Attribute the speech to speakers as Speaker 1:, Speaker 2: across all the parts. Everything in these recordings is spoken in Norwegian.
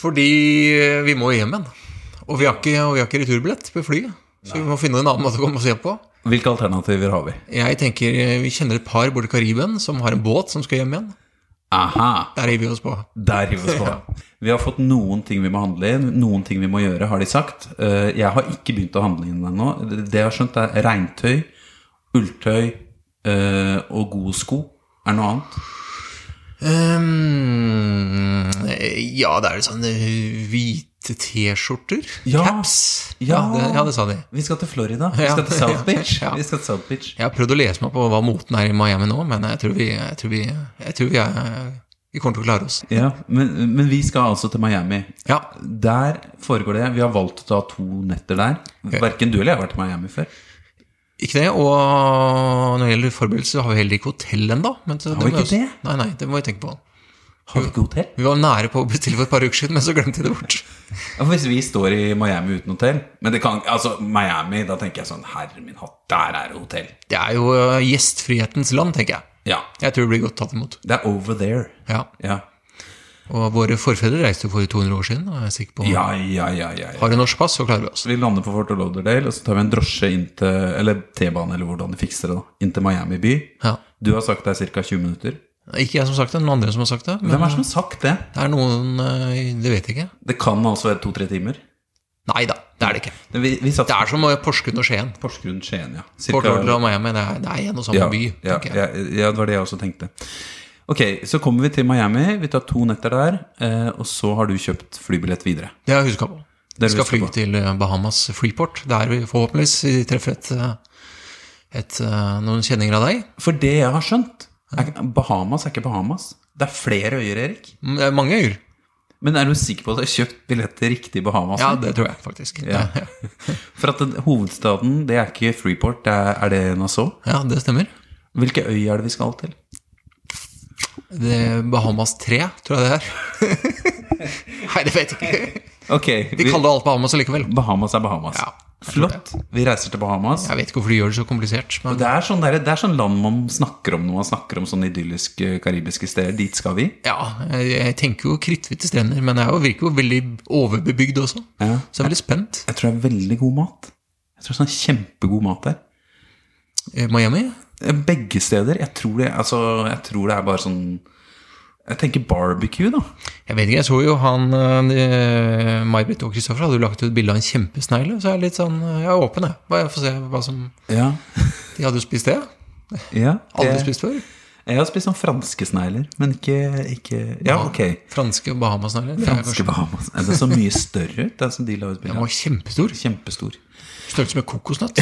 Speaker 1: Fordi vi må hjem igjen. Og vi har ikke, og vi har ikke returbillett på flyet. Så vi må finne en annen måte å komme oss hjem på.
Speaker 2: Hvilke alternativer har vi?
Speaker 1: Jeg tenker eh, Vi kjenner et par borte i Karibien som har en båt som skal hjem igjen.
Speaker 2: Aha!
Speaker 1: Der hiver vi oss på.
Speaker 2: Der hiver vi oss på. Vi har fått noen ting vi må handle inn, noen ting vi må gjøre, har de sagt. Eh, Jeg har ikke begynt å handle inn ennå. Det jeg har skjønt, er regntøy, ulltøy eh, og gode sko. Er noe annet?
Speaker 1: Ehm, ja, det er det sånne hvite T-skjorter.
Speaker 2: Ja.
Speaker 1: Caps.
Speaker 2: Ja.
Speaker 1: det, ja, det sa de.
Speaker 2: Vi skal til Florida. Vi skal til South Beach.
Speaker 1: Ja.
Speaker 2: Vi skal til South Beach.
Speaker 1: Jeg har prøvd å lese meg på hva moten er i Miami nå, men jeg tror vi, jeg tror vi, jeg tror vi, er, vi kommer til å klare oss.
Speaker 2: Ja, men, men vi skal altså til Miami.
Speaker 1: Ja,
Speaker 2: Der foregår det. Vi har valgt å ta to netter der. Verken du eller jeg har vært i Miami før.
Speaker 1: ikke det. Og når det gjelder forberedelser, så har vi heller ikke hotell ennå. men så-
Speaker 2: Har vi
Speaker 1: må
Speaker 2: ikke
Speaker 1: også-
Speaker 2: det?
Speaker 1: Nei, nei, det må vi tenke på.
Speaker 2: Har vi ikke hotell?
Speaker 1: Vi var nære på å bestille for et par uker siden, men så glemte jeg det bort.
Speaker 2: Ja, for Hvis vi står i Miami uten hotell Men det kan, altså Miami, da tenker jeg sånn Herre min hatt, der er det hotell
Speaker 1: Det er jo eh, gjestfrihetens land, tenker jeg.
Speaker 2: Ja,
Speaker 1: Jeg tror det blir godt tatt imot.
Speaker 2: det er over there
Speaker 1: Ja.
Speaker 2: Ja,
Speaker 1: Og våre forfedre reiste jo for 200 år siden, og jeg er sikker på
Speaker 2: ja, ja, ja, ja, ja.
Speaker 1: Har du norsk pass, så klarer vi oss.
Speaker 2: Vi lander på Fort Lauderdale Og så tar vi en drosje inn til Eller T-bane, eller hvordan de fikser det da Inn til Miami by
Speaker 1: Ja.
Speaker 2: Du har sagt det er cirka 20 minutter
Speaker 1: Ikke jeg som har sagt det, noen andre som har sagt det. Men
Speaker 2: Hvem er det som har sagt det?
Speaker 1: det er noen eh, Det vet jeg ikke.
Speaker 2: Det kan altså være 2-3 timer
Speaker 1: Nei da, det er det ikke.
Speaker 2: Vi, vi satt
Speaker 1: Det er som eh, Porsgrunn og Skien.
Speaker 2: Porsgrunn, Skien, ja Cirka-
Speaker 1: Fort Lauderdale og Miami, det er, det er en og samme by,
Speaker 2: ja,
Speaker 1: tenker jeg.
Speaker 2: ja, ja, det var det jeg også tenkte. Ok, så kommer vi til Miami. Vi tar to netter der. Eh, og så har du kjøpt flybillett videre.
Speaker 1: Det har jeg huska på.
Speaker 2: Det
Speaker 1: Vi
Speaker 2: har du
Speaker 1: skal
Speaker 2: husket
Speaker 1: fly
Speaker 2: på.
Speaker 1: til eh, Bahamas Freeport, der vi forhåpentligvis treffer et, eh, et, eh, noen kjenninger av deg.
Speaker 2: For det jeg har skjønt er, Bahamas er ikke Bahamas. Det er flere øyer, Erik.
Speaker 1: Mm, det er Mange øyer.
Speaker 2: Men er du sikker på at du har kjøpt billett til riktig Bahamas?
Speaker 1: Mm. Ja, det tror jeg faktisk.
Speaker 2: Ja.
Speaker 1: Det-
Speaker 2: For at den, hovedstaden, det er ikke Freeport, det er, er det Nassau.
Speaker 1: ja det stemmer.
Speaker 2: Hvilke øy er det vi skal til?
Speaker 1: Det er Bahamas 3, tror jeg det er. Nei, det vet jeg ikke.
Speaker 2: Ok,
Speaker 1: De
Speaker 2: vi,
Speaker 1: kaller alt Bahamas allikevel.
Speaker 2: Bahamas er Bahamas.
Speaker 1: Ja,
Speaker 2: Flott. Vi reiser til Bahamas.
Speaker 1: Jeg vet ikke hvorfor de gjør det så komplisert. Men
Speaker 2: Det er, sånn der, det er sånn land man snakker om når man snakker om sånne idylliske karibiske steder. Dit skal vi.
Speaker 1: ja, jeg jeg tenker jo kritthvite strender, men jeg er jo- virker jo veldig overbebygd også.
Speaker 2: Ja.
Speaker 1: Så jeg er veldig spent.
Speaker 2: Jeg tror det er veldig god mat. Jeg tror det er sånn kjempegod mat der.
Speaker 1: Eh, Miami?
Speaker 2: Begge steder. Jeg tror det, altså, jeg tror det er bare sånn Jeg tenker barbecue, da.
Speaker 1: Jeg vet ikke, jeg så jo han eh, May-Britt og Kristoffer hadde jo lagt ut bilde av en kjempesnegle, så jeg er litt sånn eh, Jeg er åpen, jeg. Bare jeg får se hva som
Speaker 2: Ja.
Speaker 1: De hadde jo spist det.
Speaker 2: ja
Speaker 1: Aldri
Speaker 2: jeg,
Speaker 1: spist før.
Speaker 2: jeg har spist sånn franske snegler, men ikke, ikke Ja, ok.
Speaker 1: Franske og Bahamasnegler. Det er
Speaker 2: Franske
Speaker 1: kanskje-
Speaker 2: Bahamas. Er det så mye større ut? Det er som de la ut
Speaker 1: Den
Speaker 2: bilde
Speaker 1: var
Speaker 2: av.
Speaker 1: kjempestor.
Speaker 2: Kjempestor.
Speaker 1: Størrelse med kokosnøtt.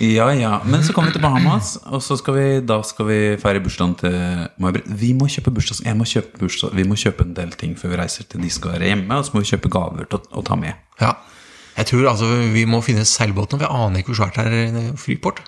Speaker 2: Ja, ja. Men så kommer vi til Bahamas, og så skal vi, da skal vi feire bursdagen til May-Britt. Vi må kjøpe bursdags... Jeg må kjøpe bursdag... Vi må kjøpe en del ting før vi reiser til de skal være hjemme, og så må vi kjøpe gaver til å, å ta med.
Speaker 1: Ja. Jeg tror altså vi må finne seilbåten. Vi aner ikke hvor svært det er i Freeport.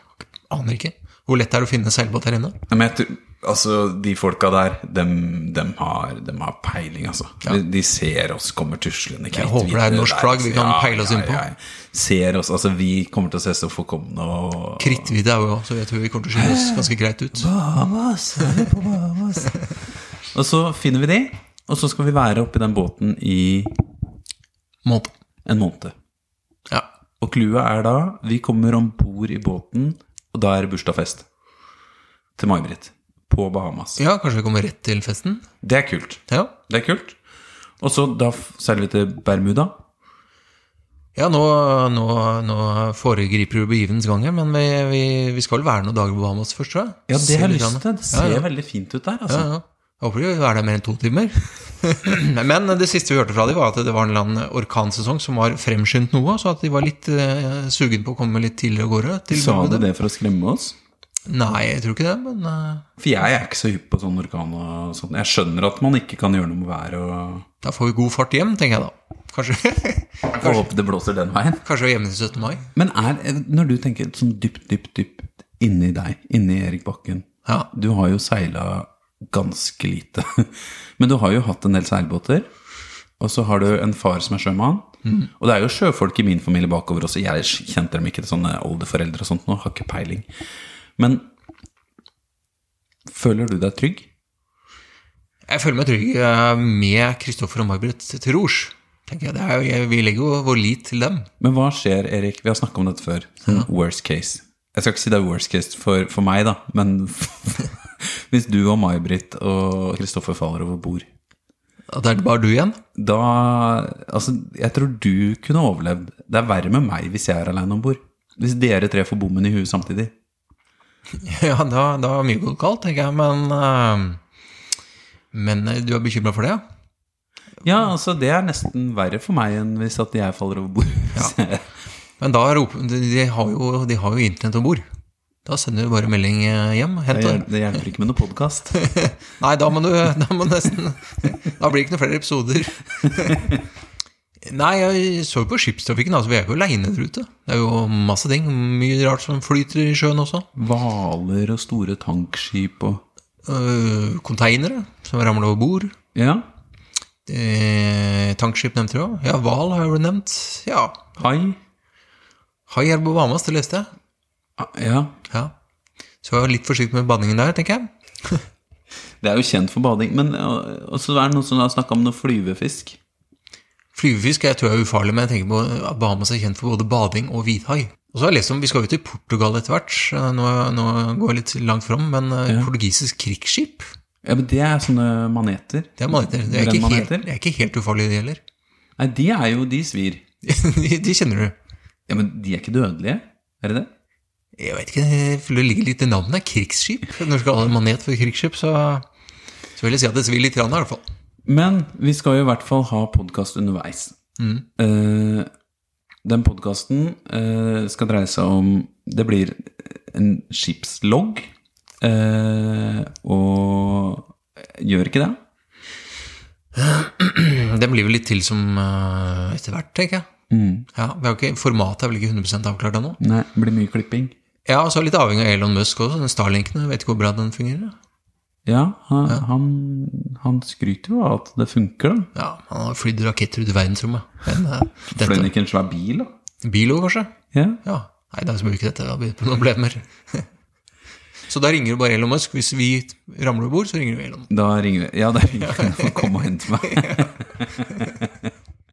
Speaker 1: Aner ikke. Hvor lett det er å finne seilbåt her inne.
Speaker 2: Nei, men jeg tror, altså, de folka der, dem, dem, har, dem har peiling, altså. De, de ser oss kommer tuslende
Speaker 1: Jeg håper det er
Speaker 2: kritthvite
Speaker 1: norsk
Speaker 2: der,
Speaker 1: flagg vi
Speaker 2: altså.
Speaker 1: kan peile oss inn på.
Speaker 2: Ser oss, altså Vi kommer til å se så forkomne og
Speaker 1: Kritthvite er jo så jeg tror vi kommer til å skille oss ganske greit ut.
Speaker 2: Bahamas! er vi på Bahamas? og så finner vi de, og så skal vi være oppi den båten i
Speaker 1: Måte.
Speaker 2: en måned.
Speaker 1: Ja.
Speaker 2: Og clouet er da vi kommer om bord i båten, og da er det bursdagsfest til May-Britt på Bahamas.
Speaker 1: ja, kanskje vi kommer rett til festen.
Speaker 2: Det er kult.
Speaker 1: Ja,
Speaker 2: Det er kult. Og så da f- seiler vi til Bermuda.
Speaker 1: ja nå, nå, nå foregriper du begivenhets gang, her, men vi, vi, vi skal vel være noen dager på Bahamas først, tror jeg.
Speaker 2: Ja, det har
Speaker 1: Se
Speaker 2: jeg
Speaker 1: litt
Speaker 2: lyst
Speaker 1: grann.
Speaker 2: til. Det ser
Speaker 1: Ja, ja.
Speaker 2: veldig fint ut der.
Speaker 1: Ja,
Speaker 2: Altså.
Speaker 1: ja. Jeg Håper vi vil være der mer enn to timer. Men det siste vi hørte fra dem, var at det var en eller annen orkansesong som var fremskyndt noe, så at de var litt eh, sugen på å komme litt tidligere av gårde. Til
Speaker 2: Sa du
Speaker 1: Bermuda.
Speaker 2: det for å skremme oss?
Speaker 1: Nei, jeg tror ikke det, men eh,
Speaker 2: For jeg er ikke så hypp på sånn orkan og sånt. Jeg skjønner at man ikke kan gjøre noe med været og
Speaker 1: da får vi god fart hjem, tenker jeg da. Kanskje,
Speaker 2: Får håpe det blåser den veien.
Speaker 1: kanskje hjemme til 17. mai.
Speaker 2: Men er, når du tenker sånn dypt, dypt, dypt inni deg, inni Erik Bakken
Speaker 1: Ja.
Speaker 2: Du har jo seila ganske lite. Men du har jo hatt en del seilbåter. Og så har du en far som er sjømann. Og det er jo sjøfolk i min familie bakover også. Jeg kjente dem ikke til sånne oldeforeldre og sånt nå, har ikke peiling. Men føler du deg trygg?
Speaker 1: Jeg føler meg trygg eh, med Kristoffer og Margaret til Rouge. Tenker jeg, det er jo, jeg, vi legger jo vår lit til dem.
Speaker 2: Men hva skjer, Erik? Vi har snakket om dette før. Sånn Worst case. Jeg skal ikke si det er worst case for, for meg, da, men hvis du og May-Britt og Kristoffer faller over bord
Speaker 1: At det er bare du igjen.
Speaker 2: da Altså, jeg tror du kunne overlevd. Det er verre med meg hvis jeg er alene om bord. Hvis dere tre får bommen i huet samtidig.
Speaker 1: Ja, da, da er mye gått galt, tenker jeg. Men, eh, men eh, du er bekymra for det? ja?
Speaker 2: Ja, altså, det er nesten verre for meg enn hvis at jeg faller over bord. Ja.
Speaker 1: Men da roper de, de, har jo, de har jo internett om bord. Da sender du bare melding eh, hjem. Hent den.
Speaker 2: Det hjelper ikke med noen podkast.
Speaker 1: Nei, da må du da må nesten Da blir det ikke noen flere episoder. Nei, jeg så jo på skipstrafikken. Altså, vi er jo ikke aleine der ute. Det er jo masse ting. Mye rart som flyter i sjøen også.
Speaker 2: Hvaler og store tankskip og
Speaker 1: Eh, Konteinere som ramler over bord.
Speaker 2: Ja.
Speaker 1: Eh, tankskip nevnte du òg. Ja, hval har jeg vel nevnt. Ja.
Speaker 2: Hai.
Speaker 1: Hai her på Bahamas, det leste jeg.
Speaker 2: Ja.
Speaker 1: Ja. Så jeg var litt forsiktig med banningen der, tenker jeg.
Speaker 2: Det er jo kjent for bading. Men øh, og så er det noen som har snakka om noe flyvefisk.
Speaker 1: Flyvefisk jeg tror jeg er ufarlig, men jeg tenker på at Bahamas er kjent for både bading og hvithai. Og så har jeg lest om, Vi skal jo til Portugal etter hvert, så nå, nå går jeg litt langt fram, men eh, portugisisk krigsskip
Speaker 2: Ja, men Det er sånne maneter.
Speaker 1: Det er, maneter. Det er, ikke, helt,
Speaker 2: Brennmaneter.
Speaker 1: det er ikke helt ufarlig, det heller.
Speaker 2: Nei, de er jo De svir.
Speaker 1: de, de kjenner du.
Speaker 2: Ja, Men de er ikke dødelige? Er det det?
Speaker 1: Jeg vet ikke, jeg føler det ligger litt i navnet. Krigsskip. Når du skal ha en manet for krigsskip, så, så vil jeg si at det svir litt, rann, i hvert fall.
Speaker 2: Men vi skal jo i hvert fall ha podkast underveis. Eh, den podkasten skal dreie seg om Det blir en skipslogg. eh, og gjør ikke det?
Speaker 1: Den Mm, blir vel litt til som eh, etter hvert, tenker jeg. Ja, vi har ikke, formatet er vel ikke 100 avklart ennå.
Speaker 2: Nei, det blir mye klipping.
Speaker 1: Ja, og så er det litt avhengig av Elon Musk også. Den Starlinkene, vet ikke hvor bra den fungerer.
Speaker 2: Ja, han, han, han skryter jo av at det funker, da.
Speaker 1: Ja, han har flydd raketter ut i verdensrommet. Men eh,
Speaker 2: Fløy
Speaker 1: dette
Speaker 2: han ikke en svær bil, da?
Speaker 1: Bilo, kanskje?
Speaker 2: Ja.
Speaker 1: Ja. Nei, da blir ikke dette da blir det problemer. så da ringer du bare Elon Musk. Hvis vi ramler over bord, så ringer du Elon.
Speaker 2: Da ringer vi. Ja, da ringer vi. Kom og hent meg.